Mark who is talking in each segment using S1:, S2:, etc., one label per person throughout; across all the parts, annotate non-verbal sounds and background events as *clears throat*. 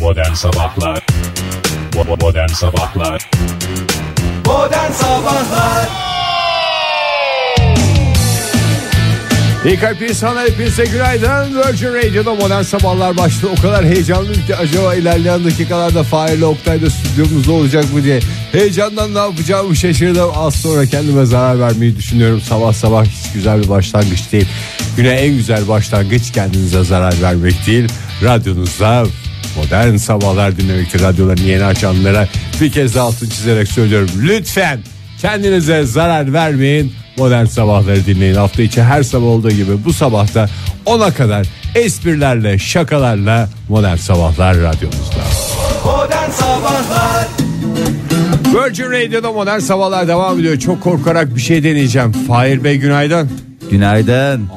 S1: Modern Sabahlar Bo- Modern Sabahlar
S2: Modern Sabahlar
S3: İyi kalp insanlar hepinize günaydın. Virgin Radio'da modern sabahlar başladı. O kadar heyecanlıyım ki acaba ilerleyen dakikalarda Fahir ile Oktay da stüdyomuzda olacak mı diye. Heyecandan ne yapacağımı şaşırdım. Az sonra kendime zarar vermeyi düşünüyorum. Sabah sabah hiç güzel bir başlangıç değil. Güne en güzel başlangıç kendinize zarar vermek değil. Radyonuzda modern sabahlar dinlemektir. Radyolarını yeni açanlara bir kez daha altını çizerek söylüyorum. Lütfen Kendinize zarar vermeyin. Modern sabahları dinleyin. Hafta içi her sabah olduğu gibi bu sabahta 10'a kadar esprilerle, şakalarla modern sabahlar radyomuzda.
S2: Modern Sabahlar
S3: Virgin Radio'da modern sabahlar devam ediyor. Çok korkarak bir şey deneyeceğim. Fahir Bey günaydın.
S4: Günaydın.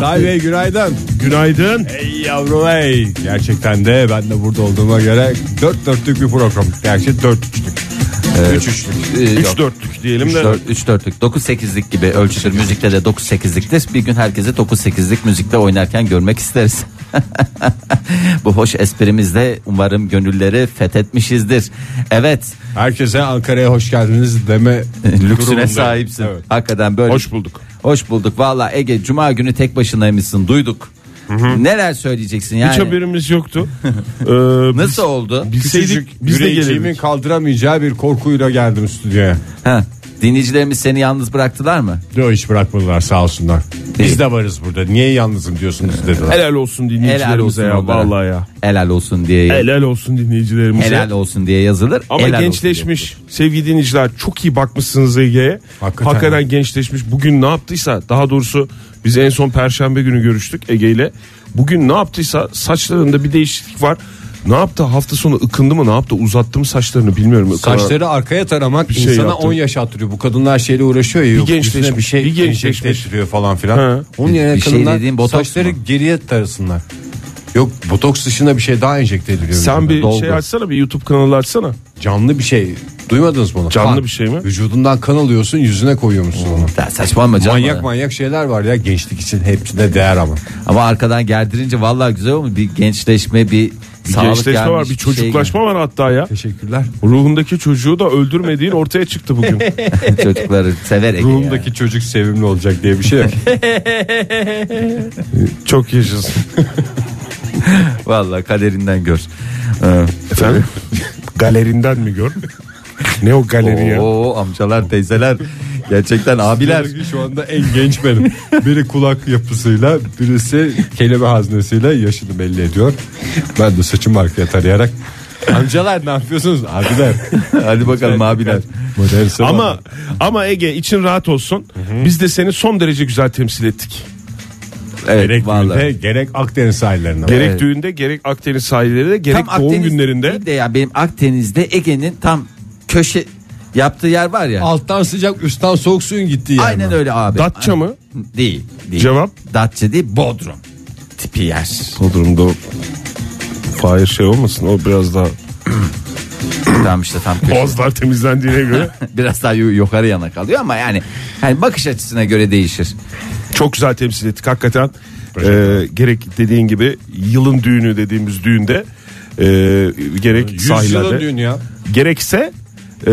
S3: Tay Bey günaydın. Günaydın. Ey yavrum ey. Gerçekten de ben de burada olduğuma göre dört dörtlük bir program. Gerçi dört üçlük. Üç üçlük.
S4: 3
S5: dörtlük diyelim de.
S4: 3 dörtlük 9 8'lik gibi ölçülür müzikte de 9 8'liktir. Bir gün herkese 9 8'lik müzikte oynarken görmek isteriz. *laughs* Bu hoş esprimizle umarım gönülleri fethetmişizdir. Evet,
S3: Herkese Ankara'ya hoş geldiniz deme
S4: *laughs* lüksüne
S3: durumundayım.
S4: sahipsin.
S3: Evet.
S4: Hakikaten böyle.
S5: Hoş bulduk.
S4: Hoş bulduk. Valla Ege cuma günü tek başınaymışsın. Duyduk. Neler söyleyeceksin yani?
S5: Hiç haberimiz yoktu. Ee,
S4: Nasıl oldu?
S5: Bilseydik
S3: Küçücük
S5: biz de
S3: yüreğimin
S5: gelirdik.
S3: kaldıramayacağı bir korkuyla geldim stüdyoya.
S4: Ha, dinleyicilerimiz seni yalnız bıraktılar mı?
S3: Yo hiç bırakmadılar sağ olsunlar.
S4: İyi.
S3: Biz de varız burada. Niye yalnızım diyorsunuz dediler.
S5: Helal olsun dinleyicilerimize ya
S4: onlara.
S5: vallahi ya.
S4: Helal olsun diye.
S5: Helal olsun dinleyicilerimize.
S4: helal olsun diye yazılır.
S5: Ama
S4: helal olsun diye.
S5: gençleşmiş sevgili dinleyiciler çok iyi bakmışsınız Ege'ye.
S3: Hakikaten.
S5: Hakikaten, gençleşmiş. Bugün ne yaptıysa daha doğrusu biz en son perşembe günü görüştük Ege ile. Bugün ne yaptıysa saçlarında bir değişiklik var. Ne yaptı hafta sonu ıkındı mı ne yaptı uzattı mı saçlarını bilmiyorum.
S3: Saçları arkaya taramak
S5: şey
S3: insana
S5: yaptım.
S3: 10 yaş attırıyor. Bu kadınlar şeyle uğraşıyor ya. yok,
S5: gençleşmiş,
S3: üstüne bir şey
S5: bir gençleşmiş.
S3: enjekte ettiriyor falan filan.
S5: Ha.
S3: Onun yerine
S4: Bir şey
S3: kadınlar
S4: dediğin botoks
S3: saçları
S4: mu?
S3: geriye tarasınlar. Yok botoks dışında bir şey daha enjekte ediliyor.
S5: Sen
S3: vücuduna.
S5: bir
S3: Dolgu.
S5: şey açsana bir YouTube kanalı açsana.
S3: canlı bir şey. Duymadınız bunu.
S5: Canlı bir şey mi?
S3: Vücudundan kan alıyorsun yüzüne koyuyormuşsun onu.
S4: Ya saçmalama canım.
S3: Manyak manyak şeyler var ya gençlik için hepsine değer ama.
S4: Ama arkadan gerdirince vallahi güzel olmuş. Bir gençleşme bir,
S5: Bir
S4: sağlık
S5: gençleşme
S4: gelmiş,
S5: var bir
S4: şey *laughs*
S5: çocuklaşma var hatta ya.
S3: Teşekkürler.
S5: Ruhundaki çocuğu da öldürmediğin ortaya
S4: *laughs*
S5: çıktı bugün.
S4: gelmiş. Çocukları sever Ege ya.
S3: Ruhumdaki çocuk sevimli olacak diye bir şey yok.
S5: Çok yaşasın.
S4: Vallahi kaderinden gör. Ee,
S5: Efendim? Galerinden mi gör? Ne o galeri ya?
S4: Oo amcalar teyzeler gerçekten abiler.
S3: Şu anda en genç benim. Biri kulak yapısıyla, birisi kelime haznesiyle yaşını belli ediyor. Ben de saçımı arkaya tarayarak Amcalar ne yapıyorsunuz? Abiler.
S4: Hadi bakalım abiler.
S3: Modern sabah.
S5: Ama ama Ege için rahat olsun. Biz de seni son derece güzel temsil ettik.
S4: Evet
S3: gerek düğünde,
S4: vallahi.
S3: gerek Akdeniz sahillerinde.
S5: Gerek
S4: Evet.
S5: düğünde gerek Akdeniz sahillerinde gerek doğum günlerinde.
S4: değil de ya benim Akdeniz'de Ege'nin tam köşe yaptığı yer var ya.
S3: Alttan sıcak, üstten soğuk suyun gittiği yer.
S4: Aynen öyle abi.
S5: Datça mı?
S4: Değil. değil.
S5: Cevap?
S4: Datça değil Bodrum tipi yer.
S5: O durumda Fahir şey olmasın o biraz daha
S4: tam işte tam köşe.
S5: boğazlar temizlendiğine *laughs* göre
S4: *laughs* biraz daha yu- yukarı yana kalıyor ama yani hani bakış açısına göre değişir.
S5: çok güzel temsil ettik hakikaten. Ee, gerek dediğin gibi yılın düğünü dediğimiz düğünde e, gerek
S3: Yüzyılın
S5: sahillerde
S3: düğünü ya.
S5: gerekse e,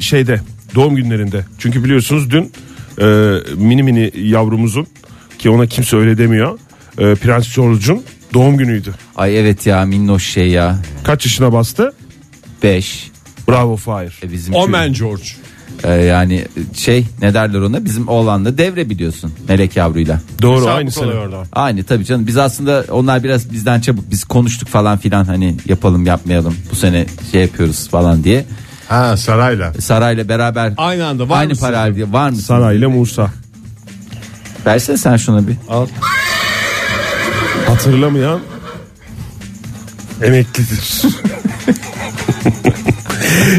S5: şeyde doğum günlerinde. Çünkü biliyorsunuz dün e, mini mini yavrumuzun ki ona kimse öyle demiyor. e, Prens George'un doğum günüydü.
S4: Ay evet ya minnoş şey ya.
S5: Kaç yaşına bastı?
S4: 5.
S5: Bravo Fahir.
S4: E bizim
S3: Omen George.
S4: çocuk- e yani şey ne derler ona bizim oğlan da devre biliyorsun melek yavruyla.
S5: Doğru
S3: Sağlık
S5: aynı sene.
S3: oluyor orada.
S4: Aynı tabii canım biz aslında onlar biraz bizden çabuk biz konuştuk falan filan hani yapalım yapmayalım bu sene şey yapıyoruz falan diye.
S3: Ha sarayla.
S4: Sarayla beraber
S3: Aynı anda var
S4: aynı
S3: mısınız?
S4: para diye var mısın?
S5: Sara ile Musa.
S4: Versene sen şuna bir.
S5: Hatırlamayan
S4: *laughs*
S5: emeklidir.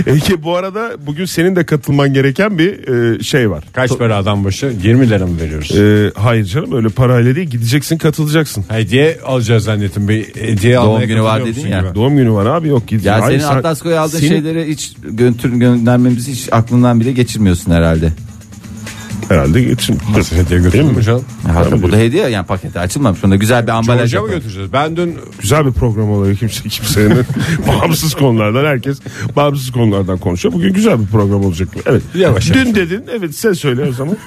S5: Ege bu arada bugün senin de katılman gereken bir e, şey var.
S3: Kaç para adam başı? 20 lira mı veriyoruz?
S5: E, hayır canım öyle parayla değil gideceksin katılacaksın.
S3: Hediye alacağız zannettim. Bir hediye
S4: Doğum
S3: almaya
S4: günü var
S3: katılıyor
S4: dedin
S3: musun
S4: ya.
S3: gibi.
S5: Doğum günü var abi yok gideceksin.
S4: Ya
S5: Hayır,
S4: senin
S5: sen-
S4: Atlas Koyu aldığın şey
S5: senin-
S4: şeyleri hiç götür, göndermemizi hiç aklından bile geçirmiyorsun herhalde.
S5: herhalde gitsin.
S3: Hediye
S5: Değil mi?
S3: götürmüş canım.
S5: Tabii.
S4: Hakikaten bu da hediye yani paketi açılmamış. Bunda güzel bir ambalaj
S3: Hoca mı
S4: yapalım.
S3: götüreceğiz? Ben dün
S5: Güzel bir program olarak kimse kimsenin bağımsız konulardan herkes bağımsız konulardan konuşuyor. Bugün güzel bir program olacak. Evet.
S3: Yavaş
S5: Dün
S3: yavaş.
S5: dedin evet sen söyle o zaman.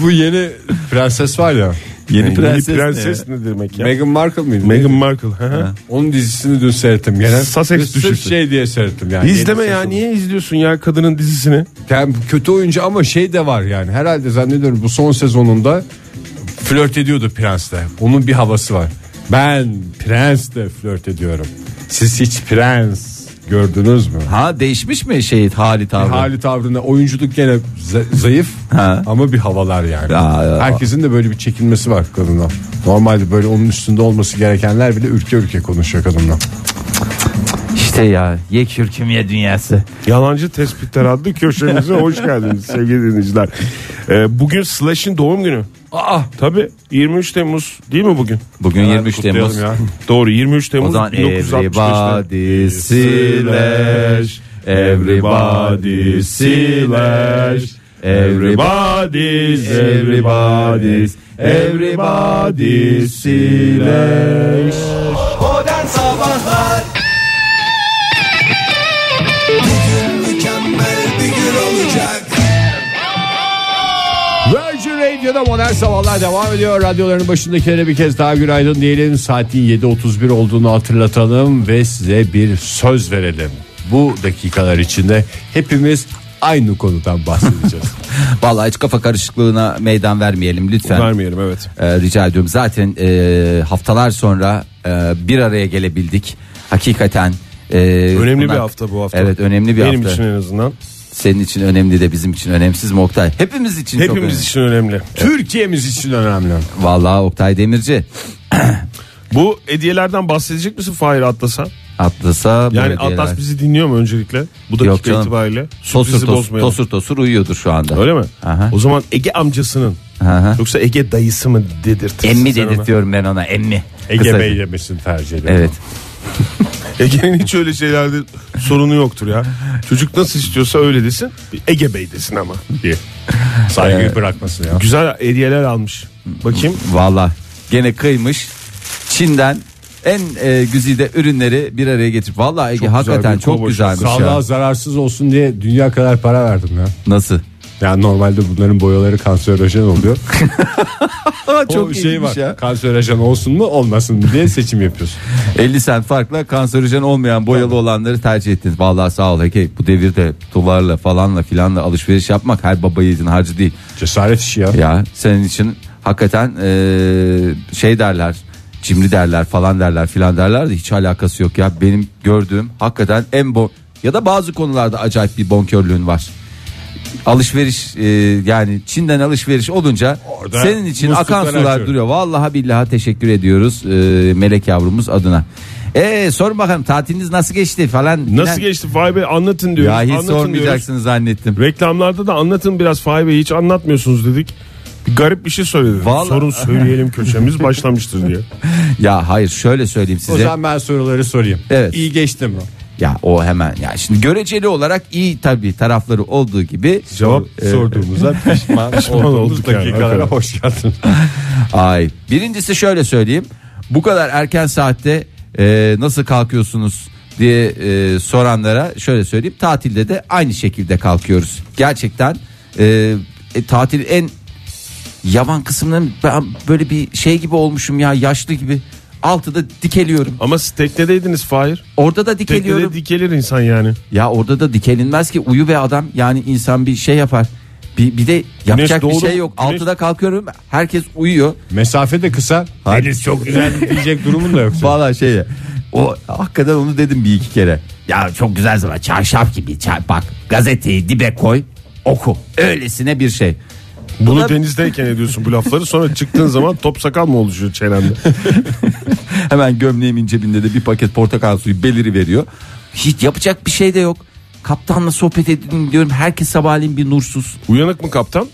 S3: bu yeni prenses var ya.
S4: Yeni
S5: Yeni
S4: prenses. ne?
S5: prenses ne demek ya?
S3: Meghan Markle mıydı?
S5: Meghan Markle. hı hı.
S3: Onun dizisini dün seyrettim. Gene
S5: Sussex
S3: Sırf
S5: düşüşü.
S3: şey diye seyrettim yani.
S5: İzleme
S3: Yeni
S5: ya
S3: sezon.
S5: niye izliyorsun ya kadının dizisini?
S3: Yani kötü oyuncu ama şey de var yani. Herhalde zannediyorum bu son sezonunda flört ediyordu prensle. Onun bir havası var. Ben prensle flört ediyorum. Siz hiç prens gördünüz mü?
S4: Ha değişmiş mi şey hali
S5: E,
S4: tavrı?
S3: Hali tavrında oyunculuk gene za- zayıf
S4: Ha.
S3: ama bir havalar yani.
S4: Ya, ya.
S3: Herkesin de böyle bir çekinmesi var kadından. Normalde böyle onun üstünde olması gerekenler bile ürke ürke konuşuyor kadından.
S4: İşte ya yek yürkümye dünyası.
S5: Yalancı tespitler adlı köşemize hoş geldiniz sevgili dinleyiciler. Ee, bugün Slash'in doğum günü. Aa tabii 23 Temmuz değil mi bugün?
S4: Bugün 23
S5: Kutlayalım
S4: Temmuz.
S5: ya. Doğru 23
S4: O
S5: Temmuz
S4: zaman
S5: 1965'te.
S4: everybody slash Everybody slash Everybody
S5: Everybody's
S4: Everybody's Everybody
S5: Everybody's
S4: slash
S2: Modern Sabahlar Bir gün mükemmel bir gün olacak
S3: Virgin Radio'da modern sabahlar devam ediyor. Radyoların başındakilere bir kez daha günaydın diyelim. Saatin 7.31 olduğunu hatırlatalım ve size bir söz verelim. Bu dakikalar içinde hepimiz aynı konudan
S5: *laughs*
S3: bahsedeceğiz.
S4: Vallahi hiç kafa karışıklığına meydan vermeyelim lütfen.
S5: Vermeyelim evet.
S4: Ee, rica ediyorum. Zaten e, haftalar sonra e, bir araya gelebildik. Hakikaten e,
S5: Önemli
S4: bunlar-
S5: bir hafta bu hafta.
S4: Evet önemli bir
S5: Benim
S4: hafta.
S5: için en azından.
S4: Senin için önemli de bizim için önemsiz mi Oktay? Hepimiz için çok önemli.
S5: Hepimiz için önemli.
S3: Türkiye'miz için önemli.
S4: Vallahi Oktay Demirci
S5: Bu hediyelerden bahsedecek misin Fahir Atlas'a?
S4: atlasa
S5: Yani
S4: böyle diyeler.
S5: Atlas bizi dinliyor mu öncelikle? Bu
S4: Yok
S5: dakika
S4: canım.
S5: itibariyle.
S4: tosur
S5: Sürprizi
S4: tosur,
S5: bozmayalım.
S4: tosur tosur uyuyordur şu anda.
S5: Öyle mi?
S4: Aha.
S5: O zaman Ege amcasının
S4: Aha.
S5: yoksa Ege dayısı mı dedirtirsin
S4: Emmi
S5: sen ona?
S4: dedirtiyorum ben ona emmi.
S3: Ege
S4: Kısaca.
S3: Bey yemesini tercih ediyorum.
S4: Evet.
S5: Ege'nin hiç öyle şeylerde sorunu yoktur ya. Çocuk nasıl istiyorsa öyle desin. Bir Ege Bey desin ama diye.
S3: Saygıyı bırakmasın ya.
S5: Güzel hediyeler almış. Bakayım.
S4: Valla gene kıymış. Çin'den en e, güzide ürünleri bir araya getirip. Valla Ege hakikaten
S5: bir
S4: çok
S5: kobaşı.
S4: güzelmiş ya.
S3: Sağlığa zararsız olsun diye dünya kadar para verdim ya.
S4: Nasıl?
S3: Yani normalde bunların boyaları kanserojen
S5: *laughs*
S3: oluyor.
S4: Aa,
S3: o şey var.
S4: *laughs*
S3: Kanserojen olsun mu olmasın mı diye seçim yapıyorsun.
S4: 50 sen farkla kanserojen olmayan boyalı olanları tercih ettiniz. Vallahi sağ ol Ege. Bu devirde dolarla falanla filanla alışveriş yapmak her baba yiğidin harcı değil.
S3: Cesaret işi
S5: E,
S3: ya.
S4: Ya senin için hakikaten eee, şey derler cimri derler falan derler filan derler de hiç alakası yok ya. Benim gördüğüm hakikaten en bon ya da bazı konularda acayip bir bonkörlüğün var. Alışveriş eee, yani Çin'den alışveriş olunca
S3: Orada
S4: senin için
S3: muslukları
S4: akan sular
S3: açıyorum.
S4: duruyor. Vallahi billahi teşekkür ediyoruz eee, melek yavrumuz adına. E sorun bakalım tatiliniz nasıl geçti falan.
S5: Nasıl
S4: filan.
S5: geçti Fahir Bey anlatın diyoruz.
S4: Ya hiç
S5: anlatın diyoruz.
S4: sormayacaksınız zannettim.
S5: Reklamlarda da anlatın biraz Fahir Bey hiç anlatmıyorsunuz dedik. Bir garip bir şey söylediniz.
S4: Vallahi- *laughs*
S5: Sorun söyleyelim köşemiz başlamıştır diye.
S4: Ya hayır şöyle söyleyeyim size.
S3: O zaman ben soruları sorayım.
S4: Evet.
S3: İyi geçti mi?
S4: Ya o hemen ya şimdi göreceli olarak iyi tabii tarafları olduğu gibi
S5: Cevap
S3: Sorduğumuza Ee, e, *laughs* pişman, olduğumuz
S5: olduk yani,
S3: dakikalara
S5: hakikaten.
S3: hoş geldin.
S4: ay birincisi şöyle söyleyeyim bu kadar erken saatte e, nasıl kalkıyorsunuz diye e, soranlara şöyle söyleyeyim tatilde de aynı şekilde kalkıyoruz gerçekten e, e, tatil en yavan kısmının ben böyle bir şey gibi olmuşum ya yaşlı gibi altıda dikeliyorum
S5: Ama siz teknedeydiniz Fahir.
S4: orada da dikeliyorum
S5: Teknede dikelir insan yani.
S4: Ya orada da dikelinmez ki uyu be adam yani insan bir şey yapar. Bir, bir de yapacak bir
S5: doğdu.
S4: şey yok.
S5: Güneş-
S4: Altıda kalkıyorum herkes uyuyor.
S3: Mesafe de kısa. Henüz çok güzel diyecek durumun da yok.
S4: Valla şey o hakikaten onu dedim bir iki kere. Ya çok güzel zaman çarşaf gibi çar- bak gazeteyi dibe koy oku öylesine bir şey.
S5: Bunu
S4: Buna-
S5: denizdeyken ediyorsun bu lafları sonra çıktığın zaman top sakal mı oluşuyor çenende?
S4: Hemen gömleğimin cebinde de bir paket portakal suyu beliri veriyor. Hiç yapacak bir şey de yok. Kaptanla sohbet edin diyorum herkes sabahleyin bir nursuz.
S5: Uyanık mı kaptan? Hmm.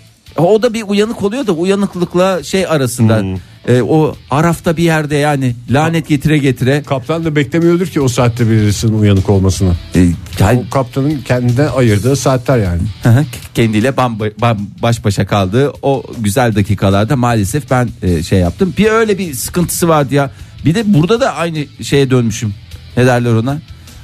S4: O da bir uyanık oluyor da uyanıklıkla şey arasında. e, o Araf'ta bir yerde yani lanet getire getire
S3: Kaptan da beklemiyordur ki o saatte birisinin uyanık olmasını.
S4: e, gel-
S3: O kaptanın kendine ayırdığı saatler yani.
S4: Hı hı, kendiyle bamba, bam- baş başa kaldığı o güzel dakikalarda maalesef ben e, şey yaptım. Bir öyle bir sıkıntısı vardı ya. Bir de burada da aynı şeye dönmüşüm. Ne derler ona?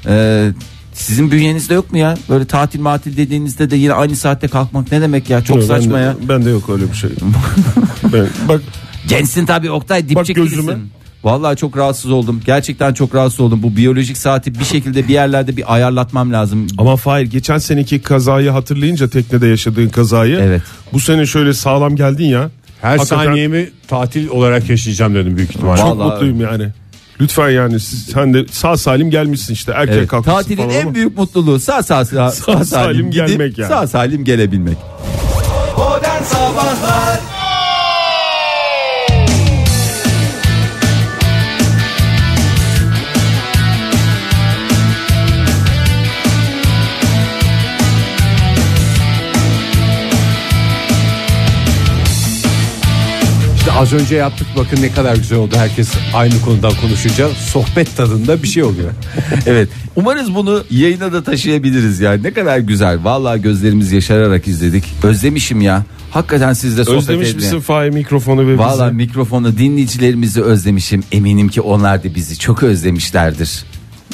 S4: Ee, sizin bünyenizde yok mu ya? Böyle tatil matil dediğinizde de yine aynı saatte kalkmak ne demek ya? Çok
S5: Ben
S4: saçma
S5: de-
S4: ya.
S5: Ben de yok öyle bir şey. Ben- bak
S4: Gençsin tabii Oktay dipçik
S5: gözüme.
S4: gibisin. Vallahi çok rahatsız oldum. Gerçekten çok rahatsız oldum. Bu biyolojik saati bir şekilde bir yerlerde bir ayarlatmam lazım.
S5: Ama Fahir geçen seneki kazayı hatırlayınca teknede yaşadığın kazayı.
S4: Evet.
S5: Bu sene şöyle sağlam geldin ya.
S3: Her
S5: Hakikaten
S3: saniyemi tatil olarak yaşayacağım dedim büyük ihtimalle.
S5: Çok
S4: Vallahi-
S5: mutluyum yani. Lütfen yani siz, sen de sağ salim gelmişsin işte erkek
S4: Evet,
S5: şey kalkmışsın
S4: tatilin
S5: falan
S4: en
S5: ama-
S4: büyük mutluluğu sağ sağ sağ, sağ salim,
S5: salim
S4: gidip,
S5: gelmek yani.
S4: Sağ salim gelebilmek.
S3: İşte az önce yaptık bakın ne kadar güzel oldu. Herkes aynı konudan konuşunca sohbet tadında bir şey *laughs* oluyor.
S4: evet. Umarız bunu yayına da taşıyabiliriz yani. Ne kadar güzel. Vallahi gözlerimiz yaşararak izledik. Özlemişim ya. Hakikaten sizle sohbet
S5: Özlemiş
S4: etmeye.
S5: misin Fahir mikrofonu ve bizi?
S4: Vallahi mikrofonu dinleyicilerimizi özlemişim. Eminim ki onlar da bizi çok özlemişlerdir.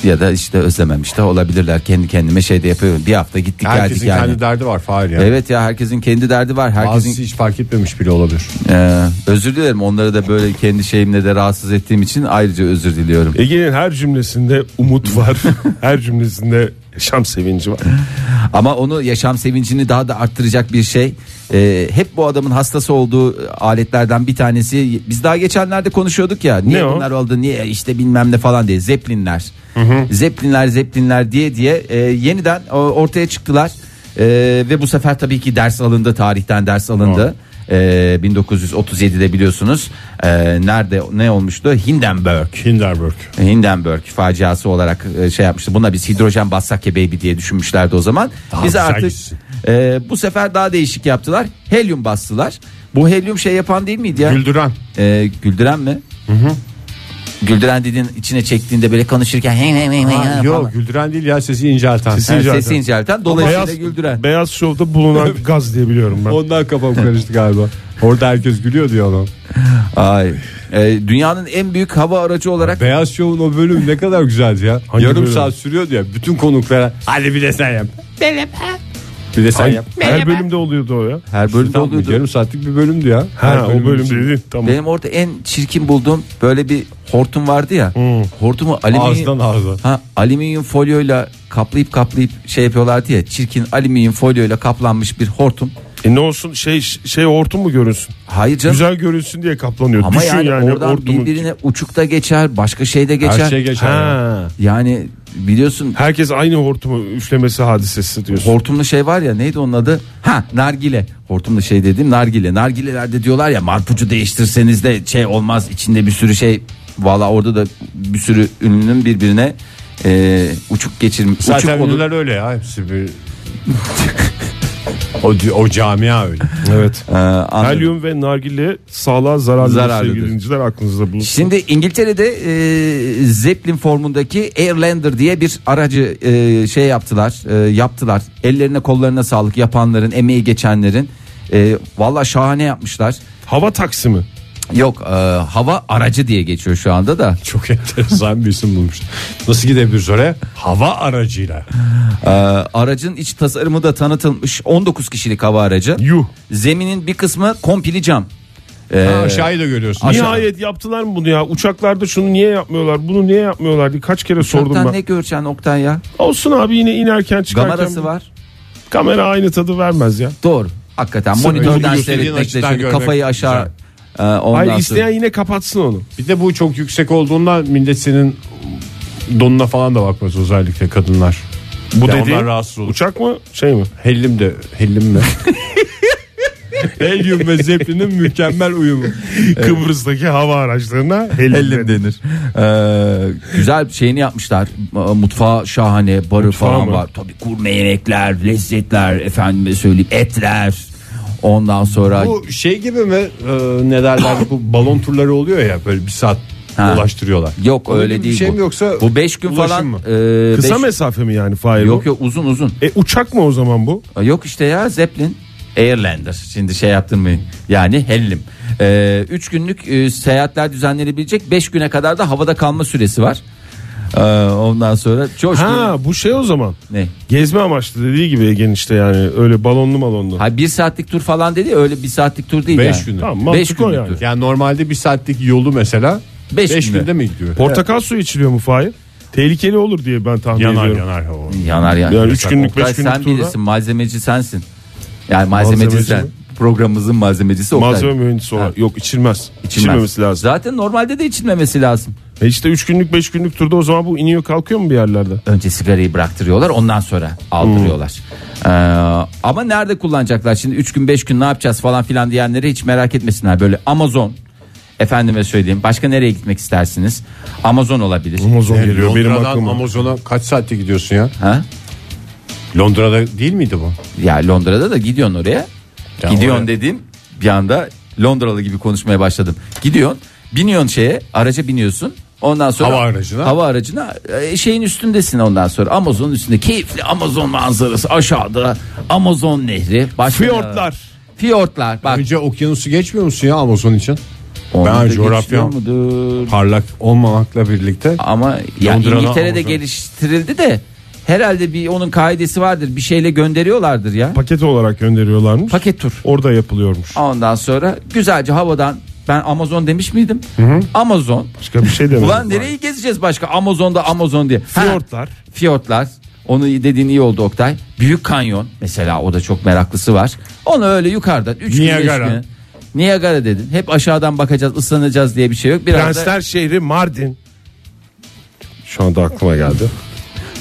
S4: Ya da işte özlememiş de olabilirler. Kendi kendime şey de yapıyorum. Bir hafta gittik
S3: Herkesin
S4: geldik yani.
S3: kendi derdi var Fahir ya.
S4: Evet ya herkesin kendi derdi var. Herkesin
S3: Bazısı hiç fark etmemiş bile olabilir.
S4: Ee, özür dilerim onları da böyle kendi şeyimle de rahatsız ettiğim için ayrıca özür diliyorum.
S5: Ege'nin her cümlesinde
S4: *laughs*
S5: umut var. her cümlesinde yaşam sevinci var.
S4: Ama onu yaşam sevincini daha da arttıracak bir şey. Ee, hep bu adamın hastası olduğu e, aletlerden bir tanesi. Biz daha geçenlerde konuşuyorduk ya. Niye
S5: Ne o?
S4: bunlar oldu? Niye işte bilmem ne falan diye. Zeplinler. Zeplinler, zeplinler diye diye e, yeniden e, ortaya çıktılar. E, ve bu sefer tabii ki ders alındı. Tarihten ders alındı. E, 1937'de biliyorsunuz. E, nerede ne olmuştu? Hindenburg.
S3: Hindenburg.
S4: Hindenburg faciası olarak e, şey yapmıştı. Buna biz hidrojen bassak ya baby diye düşünmüşlerdi o zaman. Biz
S3: güzel
S4: artık
S3: gitsin.
S4: e, bu sefer daha değişik yaptılar. Helyum bastılar. Bu helyum şey yapan değil miydi ya?
S3: Güldüren.
S4: E, güldüren mi? Güldüren dediğin içine çektiğinde böyle konuşurken hey, hey, hey, hey
S3: Ha,
S4: falan.
S3: yok güldüren değil ya sesi incelten.
S5: Sesi
S4: Yani
S5: incelten.
S4: sesi incelten dolayısıyla
S5: Beyaz,
S4: güldüren.
S5: beyaz
S4: *laughs*
S5: şovda bulunan gaz diye biliyorum ben.
S3: Ondan kafam karıştı galiba. Orada herkes gülüyor diyor adam.
S4: Ay. E, dünyanın en büyük hava aracı olarak
S3: Beyaz Show'un o bölüm ne kadar güzeldi ya.
S5: Hangi
S3: Yarım
S5: bölüm?
S3: saat sürüyordu ya. Bütün konuklara hadi bir de sen yap. Bir de sen yap.
S5: Her bölümde oluyordu o ya.
S4: her bölümde
S3: Tam bir
S4: oluyordu.
S3: yarım saatlik bir bölümdü ya. Her
S5: Ha, o
S3: bölümün
S5: bölüm
S3: içinde.
S5: dedi. Tamam.
S4: Benim orada en çirkin bulduğum böyle bir hortum vardı ya. Hortumu alüminyum
S3: Ağızdan ağza.
S4: Ha alüminyum folyoyla kaplayıp kaplayıp şey yapıyorlardı ya. Çirkin alüminyum folyoyla kaplanmış bir hortum.
S5: E ne olsun şey şey hortum mu görünsün?
S4: Hayır canım.
S5: Güzel görünsün diye kaplanıyor.
S4: Ama
S5: Düşün
S4: yani,
S5: yani,
S4: oradan
S5: hortumun-
S4: birbirine uçukta geçer, başka şeyde geçer.
S3: Her şey geçer. ya.
S5: Ha.
S4: Yani biliyorsun
S5: Herkes aynı hortumu üflemesi hadisesi diyorsun.
S4: hortumlu şey var ya neydi onun adı? Ha nargile. Hortumlu şey dediğim nargile. Nargilelerde diyorlar ya marpucu değiştirseniz de şey olmaz. içinde bir sürü şey. Valla orada da bir sürü ünlünün birbirine e, uçuk geçirmiş.
S3: Zaten
S4: uçuk olur.
S3: ünlüler öyle ya. Hepsi bir... o, o camia öyle.
S5: evet.
S4: Ee, anladım.
S5: Helyum ve nargile sağlığa zararlı
S4: Zararlıdır.
S5: sevgili dinleyiciler aklınızda bulunsun.
S4: Şimdi İngiltere'de e, Zeppelin formundaki Airlander diye bir aracı e, şey yaptılar, e, yaptılar. Ellerine kollarına sağlık yapanların, emeği geçenlerin. E, Valla şahane yapmışlar.
S5: Hava taksi mi?
S4: Yok, e, hava aracı diye geçiyor şu anda da.
S3: Çok enteresan bir isim bulmuş. Nasıl gidebiliriz oraya? Hava aracıyla.
S4: E, aracın iç tasarımı da tanıtılmış. 19 kişilik hava aracı.
S5: Yuh.
S4: Zeminin bir kısmı kompili cam.
S3: Ha, aşağıyı da görüyorsun.
S5: Nihayet yaptılar mı bunu ya? Uçaklarda şunu niye yapmıyorlar? Bunu niye yapmıyorlar diye kaç kere sordum
S4: Çoktan
S5: ben.
S4: ne göreceksin Oktay ya?
S5: Olsun abi yine inerken çıkarken
S4: Kamerası var.
S5: kamera aynı tadı vermez ya.
S4: Doğru. Hakikaten
S3: Sırf
S4: monitörden
S3: gösterdiğin
S4: seyretmekle
S3: açıdan
S4: şimdi
S3: görmek
S4: kafayı aşağı e, ondan
S5: Hayır
S4: sonra-
S5: isteyen yine kapatsın onu.
S3: Bir de bu çok yüksek olduğundan millet senin donuna falan da bakmaz özellikle kadınlar.
S5: Bu
S3: Ya
S5: dediğin
S3: onlar rahatsız olur.
S5: uçak mı şey mi?
S3: Hellim de hellim
S5: *laughs*
S3: mi? Helyum ve zeplinin mükemmel uyumu.
S5: Kıbrıs'taki hava araçlarına hellim.
S4: Ellim denir. Ee, güzel şeyini yapmışlar. e, Mutfağı şahane, barı falan
S5: mı?
S4: var. Tabii kurme yemekler, lezzetler, efendime söyleyeyim etler. Ondan sonra
S3: Bu şey gibi mi e, ne derler bu balon turları oluyor ya böyle bir saat
S4: Ha.
S3: dolaştırıyorlar.
S4: yok
S3: Onun
S4: öyle
S3: gibi
S4: değil
S3: bir şey
S4: bu.
S3: mi yoksa
S4: bu 5 gün
S3: ulaşım
S4: falan
S3: mı?
S4: e,
S5: Kısa
S4: beş-
S5: mesafe mi yani Fahir
S4: Yok
S5: bu?
S4: yok uzun uzun.
S5: E uçak mı o zaman bu?
S4: Yok işte ya Zeppelin Airlander şimdi şey yaptırmayın yani hellim 3 günlük e, seyahatler düzenlenebilecek 5 güne kadar da havada kalma süresi var Ee, ondan sonra coşkun
S5: Ha bu şey o zaman.
S4: ne
S5: Gezme amaçlı dediği gibi Ege'nin işte yani öyle balonlu malonlu.
S4: ha bir saatlik tur falan dedi ya, öyle bir saatlik tur değil
S3: Beş
S4: yani.
S3: günlük.
S5: Tamam mantık o
S4: günlük
S5: yani.
S4: tur.
S3: Yani normalde bir saatlik yolu mesela
S4: Beş
S3: 5
S4: günde.
S3: günde mi gidiyor?
S5: Portakal suyu içiliyor mu Fahir? Tehlikeli olur diye ben tahmin
S3: Yanar
S5: ediyorum.
S3: yanar hava.
S4: yanar yani,
S5: Yani üç günlük,
S4: Oktay,
S5: beş günlük
S4: sen
S5: turda-
S4: bilirsin malzemeci sensin yani malzemeci
S5: Malzemeci
S4: sen
S5: mi?
S4: programımızın malzemecisi Oktay.
S5: Malzeme mühendisi
S4: Ha.
S5: olarak. Yok içilmez.
S4: İçilmez.
S5: İçilmemesi lazım.
S4: zaten normalde de içilmemesi lazım
S5: E işte 3 günlük 5 günlük turda o zaman bu iniyor kalkıyor mu bir yerlerde?
S4: önce sigarayı bıraktırıyorlar ondan sonra aldırıyorlar. Ee, ama nerede kullanacaklar şimdi 3 gün 5 gün ne yapacağız falan filan diyenleri hiç merak etmesinler böyle Amazon efendime söyleyeyim başka nereye gitmek istersiniz? Amazon olabilir.
S5: Amazon
S3: Yani
S5: geliyor benim
S3: Londra'dan
S5: aklıma.
S3: Amazon'a kaç saatte gidiyorsun ya?
S4: Ha?
S3: Londra'da değil miydi bu?
S4: Ya Londra'da da gidiyorsun oraya.
S3: Ya
S4: gidiyorsun
S3: oraya-
S4: dediğim bir anda Londralı gibi konuşmaya başladım. Gidiyorsun, biniyorsun şeye, araca biniyorsun. Ondan sonra
S3: Hava aracına.
S4: Hava aracına e, şeyin üstündesin ondan sonra. Amazon'un üstünde keyifli Amazon manzarası aşağıda Amazon nehri. Başka
S5: Fiyortlar.
S4: Fiyortlar. Bak.
S3: Önce okyanusu geçmiyor musun ya Amazon için?
S4: Onu da
S3: coğrafyam-
S4: geçiyor mudur?
S3: Parlak olmamakla birlikte
S4: Ama ya
S3: Londra'dan
S4: İngiltere'de
S3: Amazon.
S4: geliştirildi de herhalde bir onun kaidesi vardır. Bir şeyle gönderiyorlardır ya.
S5: Paket olarak gönderiyorlarmış.
S4: Paket tur.
S5: Orada yapılıyormuş.
S4: Ondan sonra güzelce havadan ben Amazon demiş miydim? Amazon.
S5: Başka bir şey demedim.
S4: Ulan nereyi gezeceğiz başka? Amazon'da Amazon diye. Ha,
S5: Fiyortlar.
S4: Fiyortlar. Onu dediğin iyi oldu Oktay. Büyük Kanyon mesela o da çok meraklısı var. Onu öyle yukarıdan 3
S3: Niagara.
S4: gün Niagara dedin. Hep aşağıdan bakacağız, ıslanacağız diye bir şey yok. Biraz da
S5: Prensler şehri Mardin. Şu anda aklıma geldi.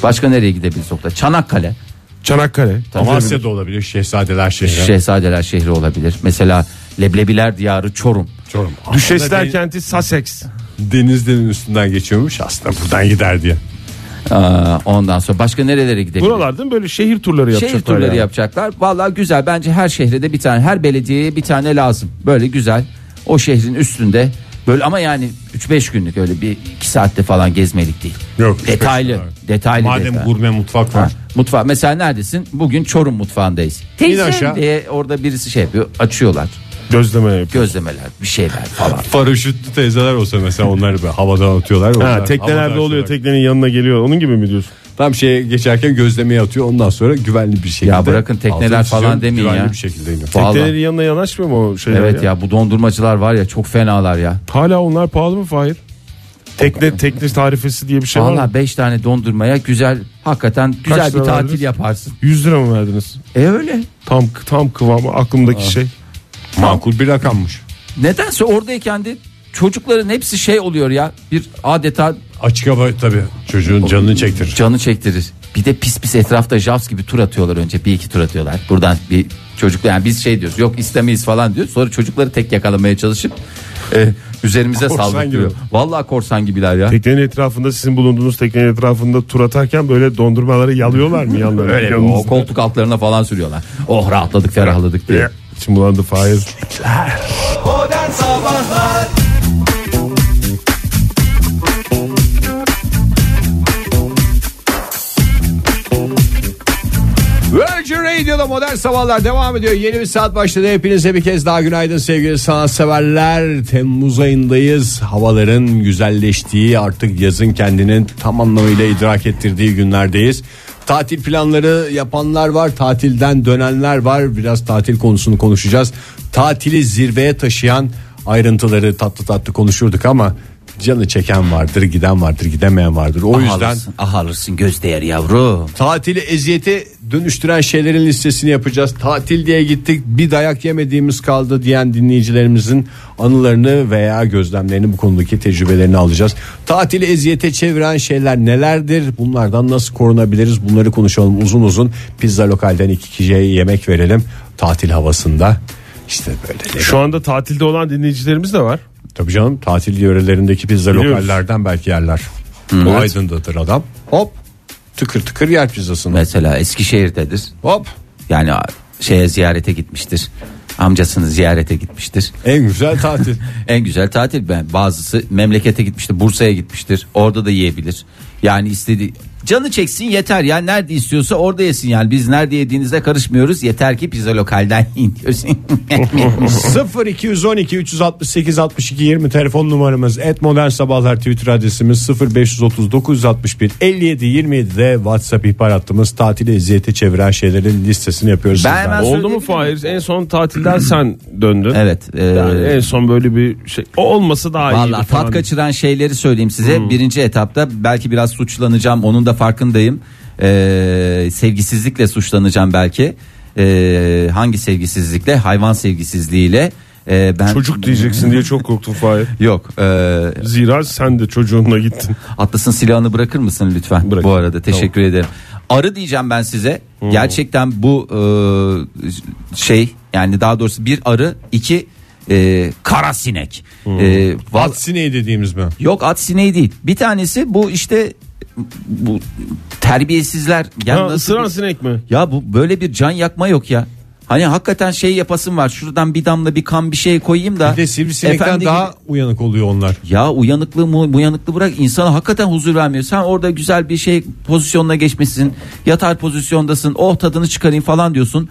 S4: başka nereye gidebiliriz Oktay? Çanakkale.
S5: Çanakkale.
S3: Amasya'da olabilir Şehzadeler şehri.
S4: Şehzadeler şehri olabilir. Mesela Leblebiler diyarı Çorum.
S3: Çorum.
S5: Düşesler kenti Sussex.
S3: Denizlerin üstünden geçiyormuş aslında buradan gider diye.
S4: Aa, ondan sonra başka nerelere gidebiliriz?
S5: Buralarda değil mi? böyle şehir turları yapacaklar.
S4: Şehir turları
S5: yani.
S4: yapacaklar. Vallahi güzel. Bence her şehre de bir tane, her belediyeye bir tane lazım. Böyle güzel. O şehrin üstünde böyle ama yani 3-5 günlük öyle bir 2 saatte falan gezmelik değil.
S3: Yok, üç beş
S4: detaylı,
S3: gün abi.
S4: detaylı.
S3: Madem
S4: detaylı.
S3: gurme mutfak
S4: Ha,
S3: var.
S4: mutfağı mesela neredesin? Bugün Çorum mutfağındayız. Teyze
S3: aşağı.
S4: diye orada birisi şey yapıyor. Açıyorlar.
S5: Gözleme yapıyor.
S4: Gözlemeler, bir şeyler
S3: *laughs*
S4: falan.
S3: Paraşütlü teyzeler olsa mesela onları böyle havadan atıyorlar.
S5: Ha, teknelerde oluyor teknenin yanına geliyor. Onun gibi mi diyorsun?
S3: Tam şeye geçerken gözlemeye atıyor ondan sonra güvenli bir şekilde.
S4: Ya bırakın tekneler
S3: altını
S4: falan
S3: çiziyorum,
S4: demeyin
S3: güvenli
S4: ya.
S3: bir şekilde iniyor.
S4: Vallahi.
S5: Teknelerin yanına yanaşmıyor mu o şeyler?
S4: Evet ya bu dondurmacılar var ya çok fenalar ya.
S5: Hala onlar pahalı mı Fahir? Tekne tekne tarifesi diye bir şey var mı?
S4: Vallahi 5 tane dondurmaya güzel hakikaten güzel bir
S5: lira
S4: tatil
S5: verdiniz?
S4: yaparsın.
S5: 100 lira mı verdiniz?
S4: E öyle.
S5: Tam tam kıvamı
S4: Ah.
S5: aklımdaki şey.
S3: Makul bir rakammış.
S4: Nedense oradayken de çocukların hepsi şey oluyor ya. Bir adeta
S3: Açık hava tabii çocuğun canını çektirir.
S4: canı çektirir. Bir de pis pis etrafta Jaws gibi tur atıyorlar önce. Bir iki tur atıyorlar. Buradan bir çocukla yani biz şey diyoruz. Yok istemeyiz falan diyor. Sonra çocukları tek yakalamaya çalışıp e, üzerimize
S3: Korsan
S4: saldırıyor.
S3: gibi.
S4: Vallahi korsan gibiler ya.
S5: Teknenin etrafında sizin bulunduğunuz teknenin etrafında tur atarken böyle dondurmaları yalıyorlar mı yanlarına?
S4: Öyle bir o
S5: Yanınızda.
S4: koltuk altlarına falan sürüyorlar. Oh rahatladık ferahladık diye.
S5: İçim bulandı Fahir.
S2: Modern Sabahlar
S3: Virgin Radio'da modern sabahlar devam ediyor. Yeni bir saat başladı. Hepinize bir kez daha günaydın sevgili sanatseverler. Temmuz ayındayız. Havaların güzelleştiği artık yazın kendini tam anlamıyla idrak ettirdiği günlerdeyiz. Tatil planları yapanlar var, tatilden dönenler var. Biraz tatil konusunu konuşacağız. Tatili zirveye taşıyan ayrıntıları tatlı tatlı konuşurduk ama canı çeken vardır, giden vardır, gidemeyen vardır. O
S4: Ah
S3: yüzden
S4: alırsın, ah alırsın göz değer yavrum.
S3: Tatili eziyete dönüştüren şeylerin listesini yapacağız. Tatil diye gittik bir dayak yemediğimiz kaldı diyen dinleyicilerimizin anılarını veya gözlemlerini bu konudaki tecrübelerini alacağız. Tatili eziyete çeviren şeyler nelerdir? Bunlardan nasıl korunabiliriz? Bunları konuşalım uzun uzun. Pizza lokalden iki kişiye yemek verelim. Tatil havasında işte böyle.
S5: Şu anda tatilde olan dinleyicilerimiz de var.
S3: Tabii canım tatil yörelerindeki pizza
S5: Biliyoruz.
S3: lokallerden belki yerler. O Aydın'dadır adam. Hop tıkır tıkır yer pizzasını.
S4: Mesela Eskişehir'dedir.
S3: Hop
S4: Yani şeye ziyarete gitmiştir. Amcasını ziyarete gitmiştir.
S6: En güzel tatil.
S4: En güzel tatil ben. Bazısı memlekete gitmiştir, Bursa'ya gitmiştir. Orada da yiyebilir. Yani istediği canı çeksin yeter. Yani nerede istiyorsa orada yesin yani. Biz nerede yediğinizde karışmıyoruz. Yeter ki pizza lokalden yiyin diyoruz. *laughs*
S3: 0 212 368 62 20 telefon numaramız et modern sabahlar twitter adresimiz 0 539 61 57 27 de whatsapp ihbar hattımız tatili eziyete çeviren şeylerin listesini yapıyoruz.
S4: Ben
S3: sizden.
S4: hemen-
S5: Oldu
S4: söyleyebilir
S5: mu
S4: miyim?
S5: Fahir? En son tatilden sen döndün.
S4: evet. e,
S5: Yani en son böyle bir şey. O olması daha iyi.
S4: Valla tat kaçıran şeyleri söyleyeyim size.
S5: Hmm.
S4: Birinci etapta belki biraz suçlanacağım. Onun da farkındayım. Ee, sevgisizlikle suçlanacağım belki. Ee, hangi sevgisizlikle? Hayvan sevgisizliğiyle. Ee, ben
S5: Çocuk diyeceksin diye çok korktum Fahir.
S4: Yok. ee,
S5: Zira sen de çocuğunla gittin.
S4: Atlas'ın silahını bırakır mısın lütfen?
S5: Bırakın.
S4: Bu arada teşekkür ederim. Arı diyeceğim ben size.
S5: Hmm.
S4: Gerçekten bu e, şey yani daha doğrusu bir arı iki e, kara sinek.
S5: Hmm.
S4: E, val-
S3: At sineği dediğimiz mi?
S4: Yok at sineği değil. Bir tanesi bu işte bu terbiyesizler. Ya,
S5: Ha,
S4: nasıl-
S5: ısıran sinek mi?
S4: ya bu böyle bir can yakma yok ya. Hani hakikaten şey yapasım var. Şuradan bir damla bir kan bir şey koyayım da.
S3: Bir de sivrisinekten
S4: efendi
S3: daha
S4: gibi-
S3: uyanık oluyor onlar.
S4: Ya uyanıklığı mu uyanıklığı bırak insana hakikaten huzur vermiyor. Sen orada güzel bir şey pozisyonuna geçmişsin. Yatar pozisyondasın. Oh tadını çıkarayım falan diyorsun.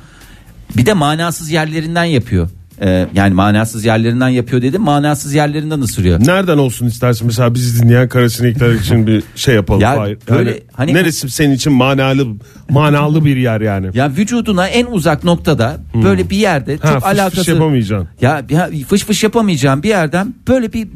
S4: Bir de manasız yerlerinden yapıyor. Ee, yani manasız yerlerinden yapıyor dedim. Manasız yerlerinden ısırıyor.
S5: Nereden olsun istersin mesela bizi dinleyen kara sinekler için bir şey yapalım
S4: Ya
S5: Fahir.
S4: böyle
S5: yani,
S4: hani-
S5: neresi senin için manalı manalı bir yer yani.
S4: Ya vücuduna en uzak noktada böyle bir yerde
S5: Hmm. Ha,
S4: çok
S5: fış fış
S4: alakası
S5: yapamayacaksın.
S4: Ya, ya fış fış yapamayacağın bir yerden böyle bir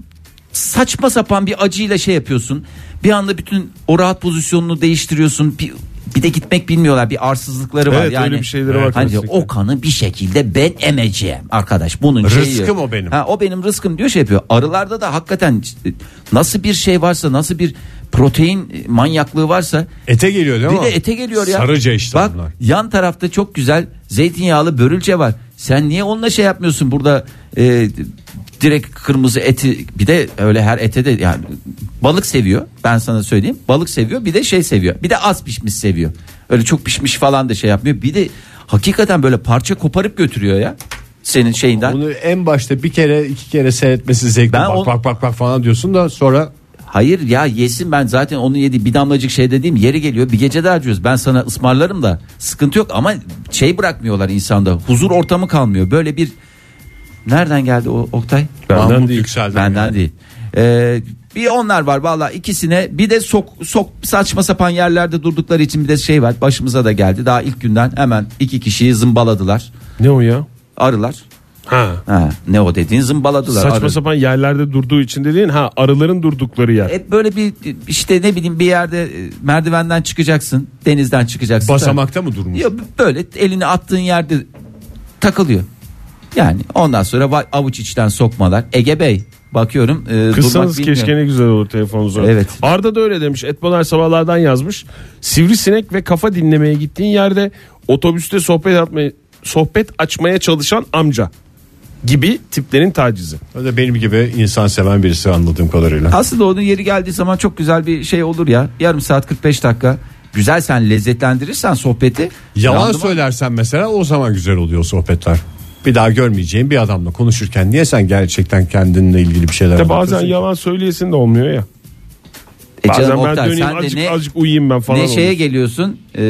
S4: saçma sapan bir acıyla şey yapıyorsun. Bir anda bütün o rahat pozisyonunu değiştiriyorsun. Bir, bir de gitmek bilmiyorlar. Bir arsızlıkları var
S5: Evet,
S4: yani.
S5: öyle bir şeyleri var
S4: Hani
S5: kesinlikle.
S4: o kanı bir şekilde ben emeceğim arkadaş. Bunun şeyi yok.
S3: Rızkım o benim.
S4: Ha, o benim rızkım diyor şey yapıyor. Arılarda da hakikaten e, nasıl bir şey varsa, nasıl bir protein e, manyaklığı varsa
S3: Ete geliyor değil
S4: bir
S3: mi?
S4: de ete geliyor ya.
S3: Sarıca işte
S4: Bak
S3: bunlar.
S4: yan tarafta çok güzel zeytinyağlı börülce var. Sen niye onunla şey yapmıyorsun burada e, direkt kırmızı eti bir de öyle her ete de yani balık seviyor. Ben sana söyleyeyim. Balık seviyor bir de şey seviyor. Bir de az pişmiş seviyor. Öyle çok pişmiş falan da şey yapmıyor. Bir de hakikaten böyle parça koparıp götürüyor ya. Senin şeyinden.
S3: Onu en başta bir kere iki kere seyretmesi zevkli.
S4: Ben
S3: bak,
S4: onu-
S3: bak bak bak falan diyorsun da sonra
S4: Hayır ya yesin ben zaten onu yedi bir damlacık şey dediğim yeri geliyor bir gece de harcıyoruz ben sana ısmarlarım da sıkıntı yok ama şey bırakmıyorlar insanda huzur ortamı kalmıyor böyle bir nereden geldi o Oktay?
S5: Benden
S4: Mahmut
S5: değil.
S4: Yüksel'den Benden değil. Ee, bir onlar var valla ikisine bir de sok, sok saçma sapan yerlerde durdukları için bir de şey var başımıza da geldi daha ilk günden hemen iki kişiyi zımbaladılar
S5: Ne o ya?
S4: arılar
S5: Ha.
S4: ha, ne o dediğin zımbaladılar
S5: Saçma
S4: arı.
S5: sapan yerlerde durduğu için dediğin ha arıların durdukları yer.
S4: Hep böyle bir işte ne bileyim bir yerde e, merdivenden çıkacaksın, denizden çıkacaksın.
S3: basamakta mı durmuş?
S4: Ya böyle elini attığın yerde takılıyor. Yani ondan sonra vay- avuç içten sokmalar. Ege Bey bakıyorum e,
S5: Kıssanız
S4: durmak bilmiyor.
S5: keşke ne güzel olur telefonunuza.
S4: Evet.
S5: Arda da öyle demiş. Etmoner sabahlardan yazmış. Sivrisinek ve kafa dinlemeye gittiğin yerde otobüste sohbet atmaya, sohbet açmaya çalışan amca gibi tiplerin tacizi.
S3: O da benim gibi insan seven birisi anladığım kadarıyla.
S4: Aslında onun yeri geldiği zaman çok güzel bir şey olur ya. Yarım saat 45 dakika. Güzel sen lezzetlendirirsen sohbeti.
S3: Yalan
S4: randıman-
S3: söylersen mesela o zaman güzel oluyor sohbetler. Bir daha görmeyeceğin bir adamla konuşurken niye sen gerçekten kendinle ilgili bir şeyler
S5: De bazen
S3: anlatıyorsun ki?
S5: yalan söyleyesin de olmuyor ya.
S4: E
S5: Bazen
S4: canım
S5: ben
S4: Oktay,
S5: döneyim
S4: sen de
S5: azıcık,
S4: ne,
S5: azıcık uyuyayım ben falan.
S4: ne şeye
S5: olur.
S4: geliyorsun? E,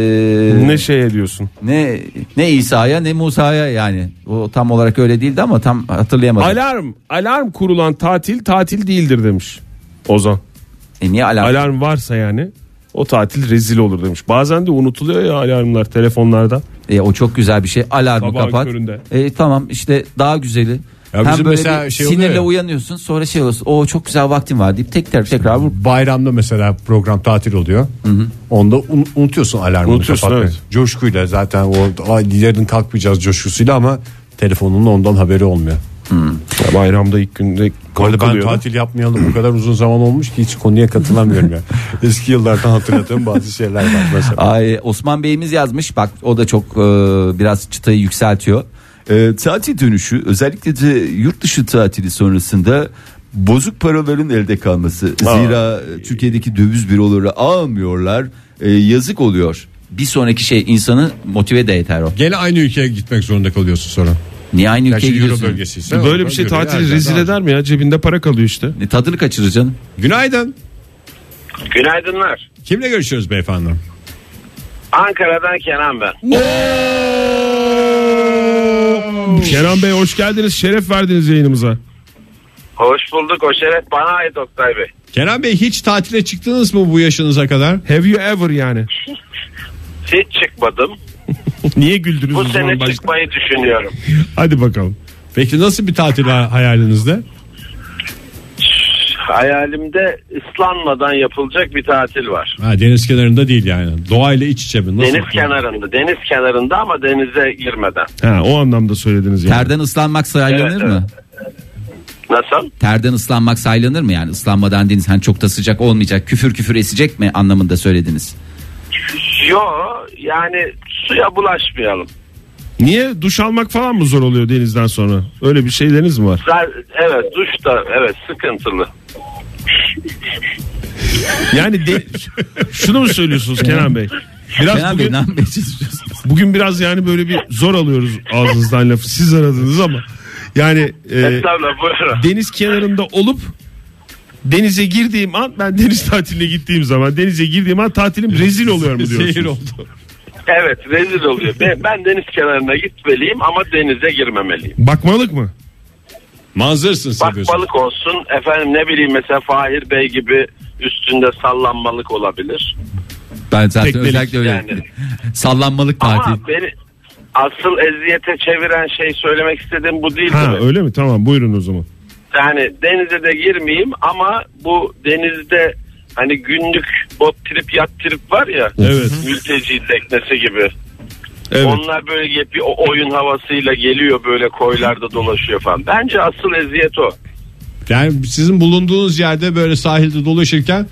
S5: ne şeye diyorsun?
S4: ne ne İsa'ya ne Musa'ya yani o tam olarak öyle değildi ama tam hatırlayamadım.
S5: Alarm, alarm kurulan tatil tatil değildir demiş Ozan.
S4: E niye alarm?
S5: Alarm varsa yani o tatil rezil olur demiş. Bazen de unutuluyor ya alarmlar telefonlarda.
S4: E, o çok güzel bir şey. Alarmı
S5: Sabahın
S4: kapat.
S5: köründe.
S4: E, tamam işte daha güzeli.
S3: Ya
S4: Hem
S3: bizim
S4: böyle
S3: mesela
S4: bir
S3: şey oluyor
S4: sinirle
S3: ya.
S4: uyanıyorsun sonra şey olsun. O çok güzel vaktin var deyip tekrar tekrar vur.
S3: Bayramda mesela program tatil oluyor. Onda un- unutuyorsun alarmını
S5: Unutuyorsun,
S3: kapatmayı.
S5: evet.
S3: Coşkuyla zaten o "Ay, yarın kalkmayacağız coşkusuyla ama telefonunun ondan haberi olmuyor.
S5: Ya bayramda ilk günde
S3: Orada ben
S5: kalkılıyor.
S3: tatil yapmayalım o kadar uzun zaman olmuş ki hiç konuya katılamıyorum *laughs* ya. Eski yıllardan hatırladığım bazı şeyler var mesela.
S4: Ay, Osman Bey'imiz yazmış bak o da çok e, biraz çıtayı yükseltiyor.
S7: E, tatil dönüşü özellikle de yurt dışı tatili sonrasında bozuk paraların elde kalması. Zira e, Türkiye'deki döviz büroları almıyorlar. E, yazık oluyor.
S4: Bir sonraki şey insanı motive de eder o.
S3: Gene aynı ülkeye gitmek zorunda kalıyorsun sonra.
S4: Niye aynı ülkeye
S3: Gerçi Euro
S4: gidiyorsun?
S3: bölgesi ise
S5: Böyle bir şey
S3: orada
S5: tatili
S3: yürüyor.
S5: rezil eder mi ya? Cebinde para kalıyor işte.
S4: E, Tadını kaçırır canım.
S3: Günaydın.
S8: Günaydınlar.
S3: Kimle görüşüyoruz beyefendi?
S8: Ankara'dan Kenan ben.
S5: Kenan Bey hoş geldiniz. Şeref verdiniz yayınımıza.
S8: Hoş bulduk. O şeref bana ait Oktay Bey.
S3: Kenan Bey hiç tatile çıktınız mı bu yaşınıza kadar?
S5: Have you ever yani?
S8: Hiç çıkmadım.
S5: Niye güldünüz
S8: Bu
S5: o zaman
S8: sene
S5: başta?
S8: çıkmayı düşünüyorum.
S5: Hadi bakalım.
S3: Peki nasıl bir tatil ha- hayalinizde?
S8: Hayalimde ıslanmadan yapılacak bir tatil var.
S3: Ha, deniz kenarında değil yani. Doğayla iç içe mi? Nasıl?
S8: Deniz kenarında. Deniz kenarında ama denize girmeden.
S5: Ha, o anlamda söylediniz yani.
S4: Terden ıslanmak sayılır
S8: Evet,
S4: mı?
S8: Nasıl?
S4: Terden ıslanmak sayılır mı yani? Islanmadan deniz hani çok da sıcak olmayacak. Küfür küfür esecek mi anlamında söylediniz.
S8: Yo yani suya bulaşmayalım.
S5: Niye? Duş almak falan mı zor oluyor denizden sonra? Öyle bir şeyleriniz mi var?
S8: Zar- Evet duş da evet sıkıntılı.
S3: *laughs*
S5: Yani de- şunu mu söylüyorsunuz Kenan Bey? Biraz
S4: Kenan Bey
S5: bugün,
S4: ne yapmaya çalışıyorsunuz?
S5: bugün biraz yani böyle bir zor alıyoruz ağzınızdan lafı. Siz aradınız ama yani e,
S8: Estağfurullah buyurun.
S5: deniz kenarında olup denize girdiğim an ben deniz tatiline gittiğim zaman denize girdiğim an tatilim rezil oluyor mu diyorsunuz?
S3: Zehir oldu.
S8: Evet rezil oluyor. Ben, ben deniz kenarına gitmeliyim ama denize girmemeliyim.
S5: Bakmalık mı?
S3: Manzarasını seviyorsun.
S8: Bakmalık olsun. Efendim ne bileyim mesela Fahir Bey gibi üstünde sallanmalık olabilir.
S4: Ben zaten
S5: Teknelik
S4: özellikle öyle.
S8: yani.
S4: *laughs* Sallanmalık tatil.
S8: Ama beni asıl eziyete çeviren şey söylemek istediğim bu değil.
S5: Ha
S8: mi?
S5: öyle mi? Tamam buyurun o zaman.
S8: Yani denize de girmeyeyim ama bu denizde hani günlük bot trip yat trip var ya.
S5: Evet.
S8: Mülteci teknesi gibi.
S5: Evet.
S8: Onlar böyle bir o- oyun havasıyla geliyor böyle koylarda dolaşıyor falan. Bence asıl eziyet o.
S3: Yani sizin bulunduğunuz yerde böyle sahilde dolaşırken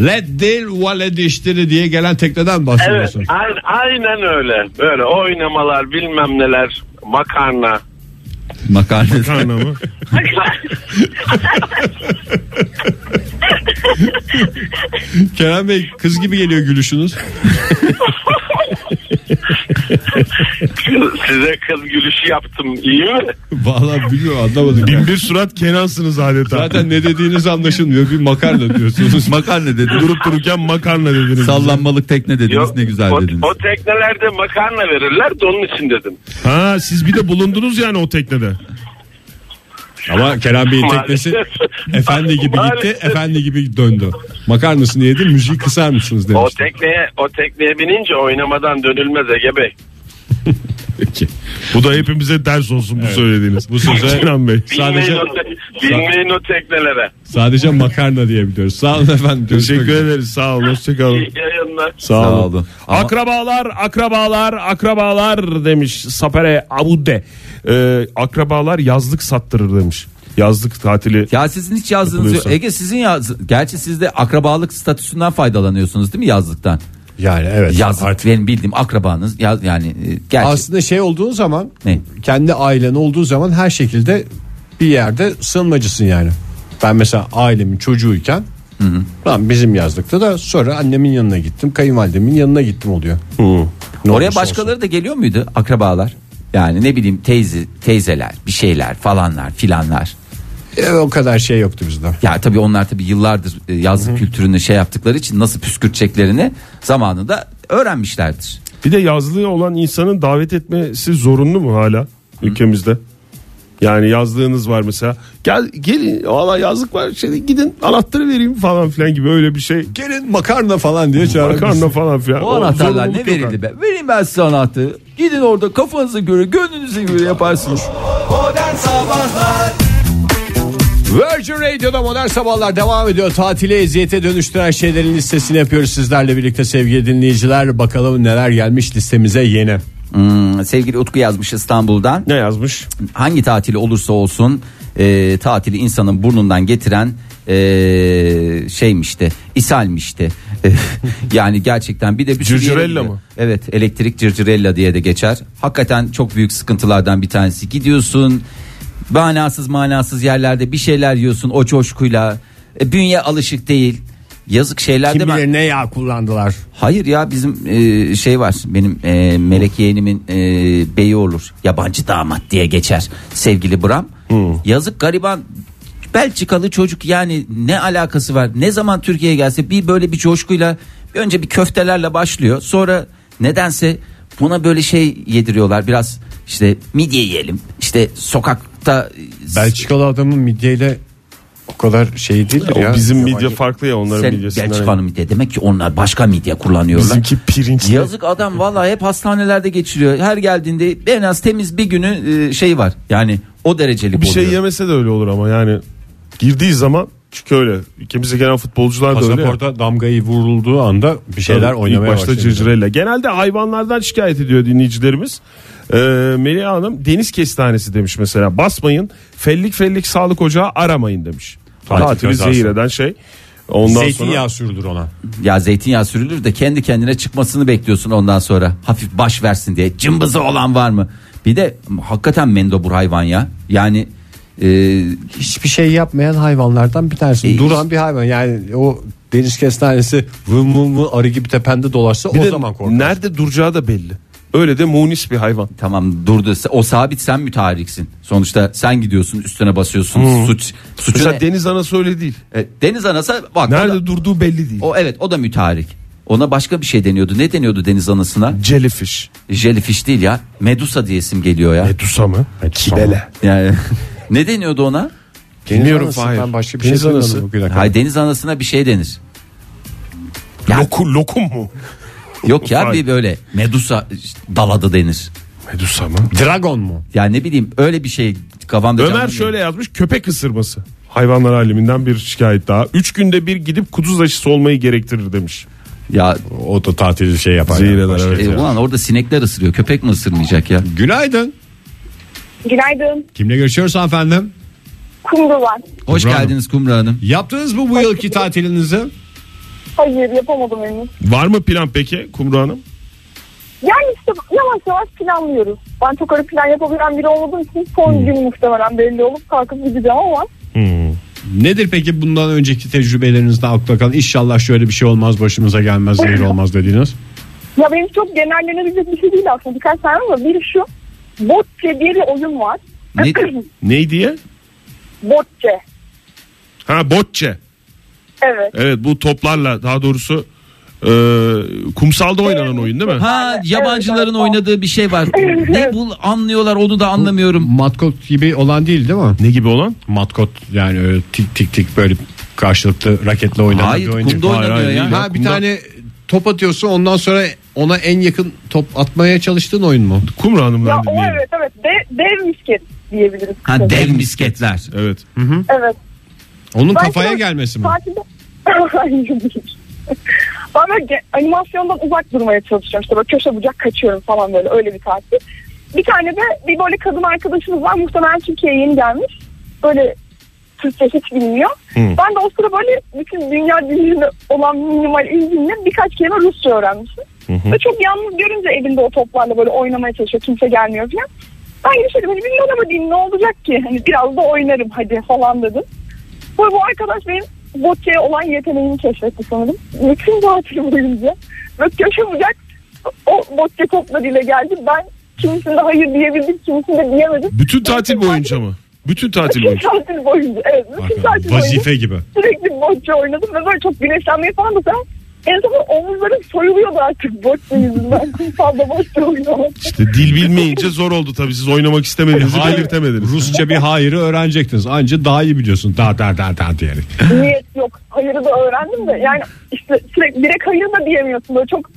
S3: Let değil vale dişleri diye gelen tekneden
S8: Evet
S3: bahsediyorsun.
S8: aynen, aynen öyle. Böyle oynamalar bilmem neler makarna.
S4: Makarna.
S5: Karna mı?
S3: Kerem Bey kız gibi geliyor gülüşünüz.
S8: Size kız gülüşü yaptım iyi mi?
S3: Vallahi biliyor anlamadım.
S5: Bin bir surat Kenan'sınız adeta.
S3: Zaten ne dediğiniz anlaşılmıyor. Bir *laughs* makarna diyorsunuz.
S4: Makarna dedi.
S5: durup dururken makarna dediniz.
S4: Sallanmalık tekne dediniz ne güzel
S8: o,
S4: dediniz.
S8: o teknelerde makarna verirler de onun için dedim.
S5: Ha siz bir de bulundunuz yani o teknede.
S3: Ama Kerem Bey'in teknesi
S8: Maalesef.
S3: efendi gibi gitti,
S8: Maalesef.
S3: efendi gibi döndü. Makarnasını yedi, müziği kısar mısınız
S8: O
S3: demişti.
S8: tekneye o tekneye binince oynamadan dönülmez Ege Bey.
S5: Bu da hepimize ders olsun bu söylediğiniz. Bu söze Kenan Bey.
S8: Binmeyin,
S3: Sadece-
S8: o, te- binmeyin o teknelere.
S3: Sadece makarna diyebiliyoruz. Sağ olun efendim. Görüşmek
S5: Teşekkür
S3: üzere.
S5: ederiz. Sağ olun. Hoşçakalın.
S8: İyi yayınlar.
S5: Sağ
S4: Sağ
S5: olun.
S4: olun. Ama-
S5: Akrabalar, akrabalar, akrabalar demiş Sapere Abude. Ee, akrabalar yazlık sattırır demiş. Yazlık tatili.
S4: Ya sizin hiç yazdığınız yok.
S5: Yapılıyorsa.
S4: Ege sizin yaz. Gerçi siz de akrabalık statüsünden faydalanıyorsunuz değil mi yazlıktan?
S3: Yani evet.
S4: Yazlık
S3: Artık
S4: benim bildiğim akrabanız yaz yani e, gerçi
S3: aslında şey olduğun zaman
S4: Ne?
S3: kendi ailen olduğu zaman her şekilde bir yerde sığınmacısın yani. Ben mesela ailemin çocuğuyken lan bizim yazlıkta da sonra annemin yanına gittim, kayınvalidemin yanına gittim oluyor. Ne
S4: oraya
S3: olursa
S4: başkaları da geliyor muydu akrabalar? Yani ne bileyim teyze teyzeler, bir şeyler falanlar filanlar.
S3: olsun. E, o kadar şey yoktu bizde.
S4: Ya tabii onlar tabii yıllardır e, yazlık kültürünü şey yaptıkları için nasıl püskürteceklerini zamanında öğrenmişlerdir.
S5: Bir de yazlığı olan insanın davet etmesi zorunlu mu hala ülkemizde? Yani yazlığınız var mesela. Gel gelin valla yazlık var şey gidin anahtarı vereyim falan filan gibi öyle bir şey.
S3: Gelin makarna falan diye
S5: Makarna falan filan.
S4: O anahtarlar ne
S5: zorunluluk yok
S4: verildi be? Vereyim ben size anahtarı. Gidin orada kafanıza göre, gönlünüze göre yaparsınız.
S2: Modern Sabahlar
S3: Virgin Radio'da modern sabahlar devam ediyor. Tatile eziyete dönüştüren şeylerin listesini yapıyoruz sizlerle birlikte sevgili dinleyiciler. Bakalım neler gelmiş listemize yeni.
S4: Hmm, sevgili Utku yazmış İstanbul'dan.
S5: Ne yazmış?
S4: hangi tatili olursa olsun e, tatili insanın burnundan getiren e, şeymişti ishalmişti E, *laughs* yani gerçekten bir de bir sürü yere
S5: Cırcırella
S4: gidiyor.
S5: mı?
S4: evet elektrik cırcırella diye de geçer hakikaten çok büyük sıkıntılardan bir tanesi gidiyorsun manasız manasız yerlerde bir şeyler yiyorsun o coşkuyla E, bünye alışık değil Yazık şeyler
S9: Kim
S4: değil mi?
S9: bilir ne yağ kullandılar.
S4: Hayır ya bizim e, şey var benim e, melek yeğenimin e, beyi olur yabancı damat diye geçer sevgili Bram yazık gariban Belçikalı çocuk yani ne alakası var ne zaman Türkiye'ye gelse bir böyle bir coşkuyla önce bir köftelerle başlıyor sonra nedense buna böyle şey yediriyorlar biraz işte midye yiyelim işte sokakta
S9: Belçikalı adamın midyeyle o kadar şey değildir
S5: O
S9: ya.
S5: bizim midye farklı ya onların
S4: sen
S5: midyesinden.
S4: Belçika'nın midye demek ki onlar başka midye kullanıyorlar.
S5: Bizimki pirinçli.
S4: Yazık adam vallahi hep hastanelerde geçiriyor. Her geldiğinde en az temiz bir günü e, şey var. Yani o derecelik
S5: Bir şey
S4: oluyor.
S5: yemese de öyle olur ama yani girdiği zaman çünkü öyle ülkemize gelen futbolcular da öyle. ya.
S9: Pasaporta damgayı vurulduğu anda bir şeyler
S5: Tabii,
S9: oynamaya
S5: ilk başta
S9: başladı.
S5: cırcırayla. Genelde hayvanlardan şikayet ediyor dinleyicilerimiz. Ee, Melih Hanım deniz kestanesi demiş mesela. Basmayın fellik fellik sağlık ocağı aramayın demiş.
S9: Tatil
S5: Tatili
S9: kazası.
S5: zehir eden şey. Ondan sonra
S9: Zeytinyağı sürülür ona.
S4: Ya zeytinyağı sürülür de kendi kendine çıkmasını bekliyorsun ondan sonra. Hafif baş versin diye. Cımbızı olan var mı? Bir de hakikaten mendobur hayvan ya. Yani e,
S9: Hiçbir şey yapmayan hayvanlardan bir tanesi.
S4: E,
S9: Duran bir hayvan yani o deniz kestanesi vım vım vım arı gibi tepende dolaşsa
S5: bir
S9: o
S5: de
S9: zaman korkar.
S5: nerede duracağı da belli. Öyle de munis bir hayvan.
S4: tamam durdu. O sabit sen mütahariksin. Sonuçta sen gidiyorsun üstüne basıyorsun. Suç suçu
S5: Mesela
S4: ne?
S5: deniz anası öyle değil.
S4: E, Deniz anası bak o
S5: Nerede
S4: da-
S5: durduğu belli değil.
S4: o evet o da mütaharik. Ona başka bir şey deniyordu. Ne deniyordu deniz anasına?
S5: Jellyfish.
S4: Jellyfish değil ya. Medusa diye isim geliyor ya.
S5: Medusa mı? Kibele.
S4: Yani *laughs* ne deniyordu ona?
S5: Bilmiyorum
S9: anası,
S5: Fahir.
S9: ben başka bir şey
S5: Deniz
S9: duymadım
S5: anası.
S9: bugüne kadar.
S4: Hay deniz anasına bir şey denir. Ya,
S5: Lokum, lokum mu?
S4: yok ya
S5: Fahir.
S4: bir böyle Medusa işte, daladı denir.
S5: Medusa mı?
S9: Dragon mu?
S4: Ya ne bileyim öyle bir şey kafamda
S5: Ömer
S4: canlanıyor.
S5: şöyle yazmış köpek ısırması. Hayvanlar aleminden bir şikayet daha. Üç günde bir gidip kuduz aşısı olmayı gerektirir demiş.
S4: Ya,
S9: O da tatili şey yapar.
S5: Zehir
S9: yani.
S5: eder,
S9: Başka-
S5: evet.
S4: e, ulan orada sinekler ısırıyor. Köpek mi ısırmayacak ya?
S9: Günaydın.
S10: Günaydın.
S9: Kimle görüşüyoruz efendim?
S10: Kumru var.
S4: Hoş
S9: Kumru Hanım.
S4: geldiniz Kumru Hanım.
S9: Yaptınız mı bu yılki tatilinizi?
S10: Hayır yapamadım henüz.
S5: Var mı plan peki Kumru Hanım?
S10: Yani işte yavaş yavaş planlıyoruz. Ben çok öyle plan yapabilen biri olmadığım için son
S4: Hmm.
S10: gün muhtemelen belli olup kalkıp gideceğim ama
S9: Nedir peki bundan önceki tecrübelerinizde akla kalan inşallah şöyle bir şey olmaz başımıza gelmez zehir olmaz dediğiniz?
S10: ya benim çok genellenebilecek bir şey değil aslında birkaç tane ama biri şu botçe diye bir oyun var.
S4: Ne-
S5: Ney diye?
S10: *clears throat* botçe.
S5: Ha botçe.
S10: Evet.
S5: Evet bu toplarla daha doğrusu e, kumsalda oynanan oyun değil mi?
S4: Ha
S10: Evet,
S4: yabancıların
S10: evet.
S4: oynadığı bir şey var. ne bu anlıyorlar onu da anlamıyorum.
S9: Matkot gibi olan değil değil mi?
S5: Ne gibi olan?
S9: Matkot yani öyle tik tik tik böyle karşılıklı raketle oynanan
S4: Hayır,
S9: bir oyun değil.
S4: kumda oynanıyor
S9: değil
S4: ya.
S9: Ha bir tane top atıyorsun ondan sonra ona en yakın top atmaya çalıştığın oyun mu?
S5: Kumru
S10: Ya
S5: Hanım'dan
S10: o
S5: dinleyelim.
S10: evet evet De, dev misket diyebiliriz.
S4: Ha dev misketler.
S5: Evet.
S10: Evet.
S9: Onun
S10: Ben
S9: kafaya
S10: biraz
S9: gelmesi mi?
S10: Tatilde... Hayır, *laughs* değil. ben böyle ge- animasyondan uzak durmaya çalışıyorum. İşte böyle köşe bucak kaçıyorum falan böyle öyle bir tatil. Bir tane de bir böyle kadın arkadaşımız var. Muhtemelen Türkiye'ye yeni gelmiş. Böyle Türkçe hiç bilmiyor. Ben de o sıra böyle bütün dünya dilinde olan minimal ilgimle birkaç kelime Rusça öğrenmişim. Ve çok yalnız görünce elinde o toplarla böyle oynamaya çalışıyor. Kimse gelmiyor falan. Ben yine şey dedim, hani bilmiyorum ama din ne olacak ki? Hani biraz da oynarım hadi falan dedim. Bu, bu arkadaş benim bocce olan yeteneğimi keşfetti sanırım. Bütün tatili boyunca. Ve köşe bucak o bocce toplarıyla geldi. Ben kimisinde hayır diyebildim, kimisinde diyemedim.
S5: Bütün tatil boyunca mı? Bütün tatil
S10: Bütün
S5: boyunca.
S10: tatil boyunca. Evet, bütün tatil boyunca
S9: Vazife gibi.
S10: sürekli bocce oynadım. Ve böyle çok güneşlenmeye falan da sen en son omuzlarım soyuluyordu artık bocce yüzünden. *laughs* Çok fazla bocce oynamak.
S5: İşte dil bilmeyince zor oldu tabii siz oynamak istemediğinizi
S9: Hayır.
S5: belirtemediniz.
S9: Rusça bir hayırı öğrenecektiniz. Anca daha iyi biliyorsun. Dar dar dar dar diyerek.
S10: Niyet yok. Hayırı da öğrendim de. Yani işte sürekli direkt hayır da diyemiyorsun. Böyle çok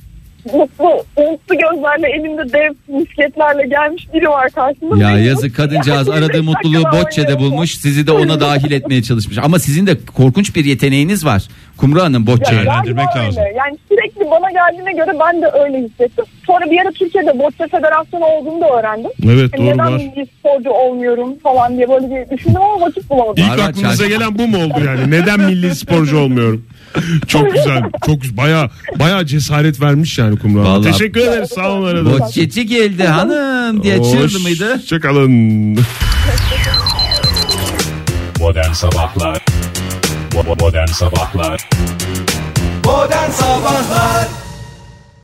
S10: mutlu, umutlu gözlerle elinde dev misketlerle gelmiş biri var karşında.
S4: Ya
S10: Ve
S4: yazık kadıncağız
S10: Yani
S4: aradığı
S10: beş
S4: mutluluğu
S10: dakika
S4: bocce'de
S10: oynuyor.
S4: bulmuş. Sizi de ona dahil etmeye çalışmış. Ama sizin de korkunç bir yeteneğiniz var. Kumru Hanım
S10: Ya
S4: bocce.
S10: galiba
S9: Değerlendirmek
S10: öyle.
S9: lazım.
S10: Yani sürekli bana geldiğine göre ben de öyle hissettim. Sonra bir ara Türkiye'de Bocce Federasyonu olduğunu da öğrendim.
S5: Evet
S10: Hani
S5: doğru
S10: neden
S5: var.
S10: milli sporcu olmuyorum falan diye böyle bir düşündüm ama vakit bulamadım.
S5: İlk
S4: Var var,
S5: aklınıza
S4: çarşı-
S5: gelen bu mu oldu yani? Neden milli sporcu olmuyorum? Çok güzel. Çok güzel. baya baya cesaret vermiş yani Kumru Hanım.
S4: Vallahi-
S5: Teşekkür ederiz. Sağ olun aradığınız için.
S4: Bocce'ci geldi hanım diye çığırdı mıydı?
S5: Hoşçakalın.
S1: Modern Sabahlar Bo- bo- Modern Sabahlar
S2: Modern Sabahlar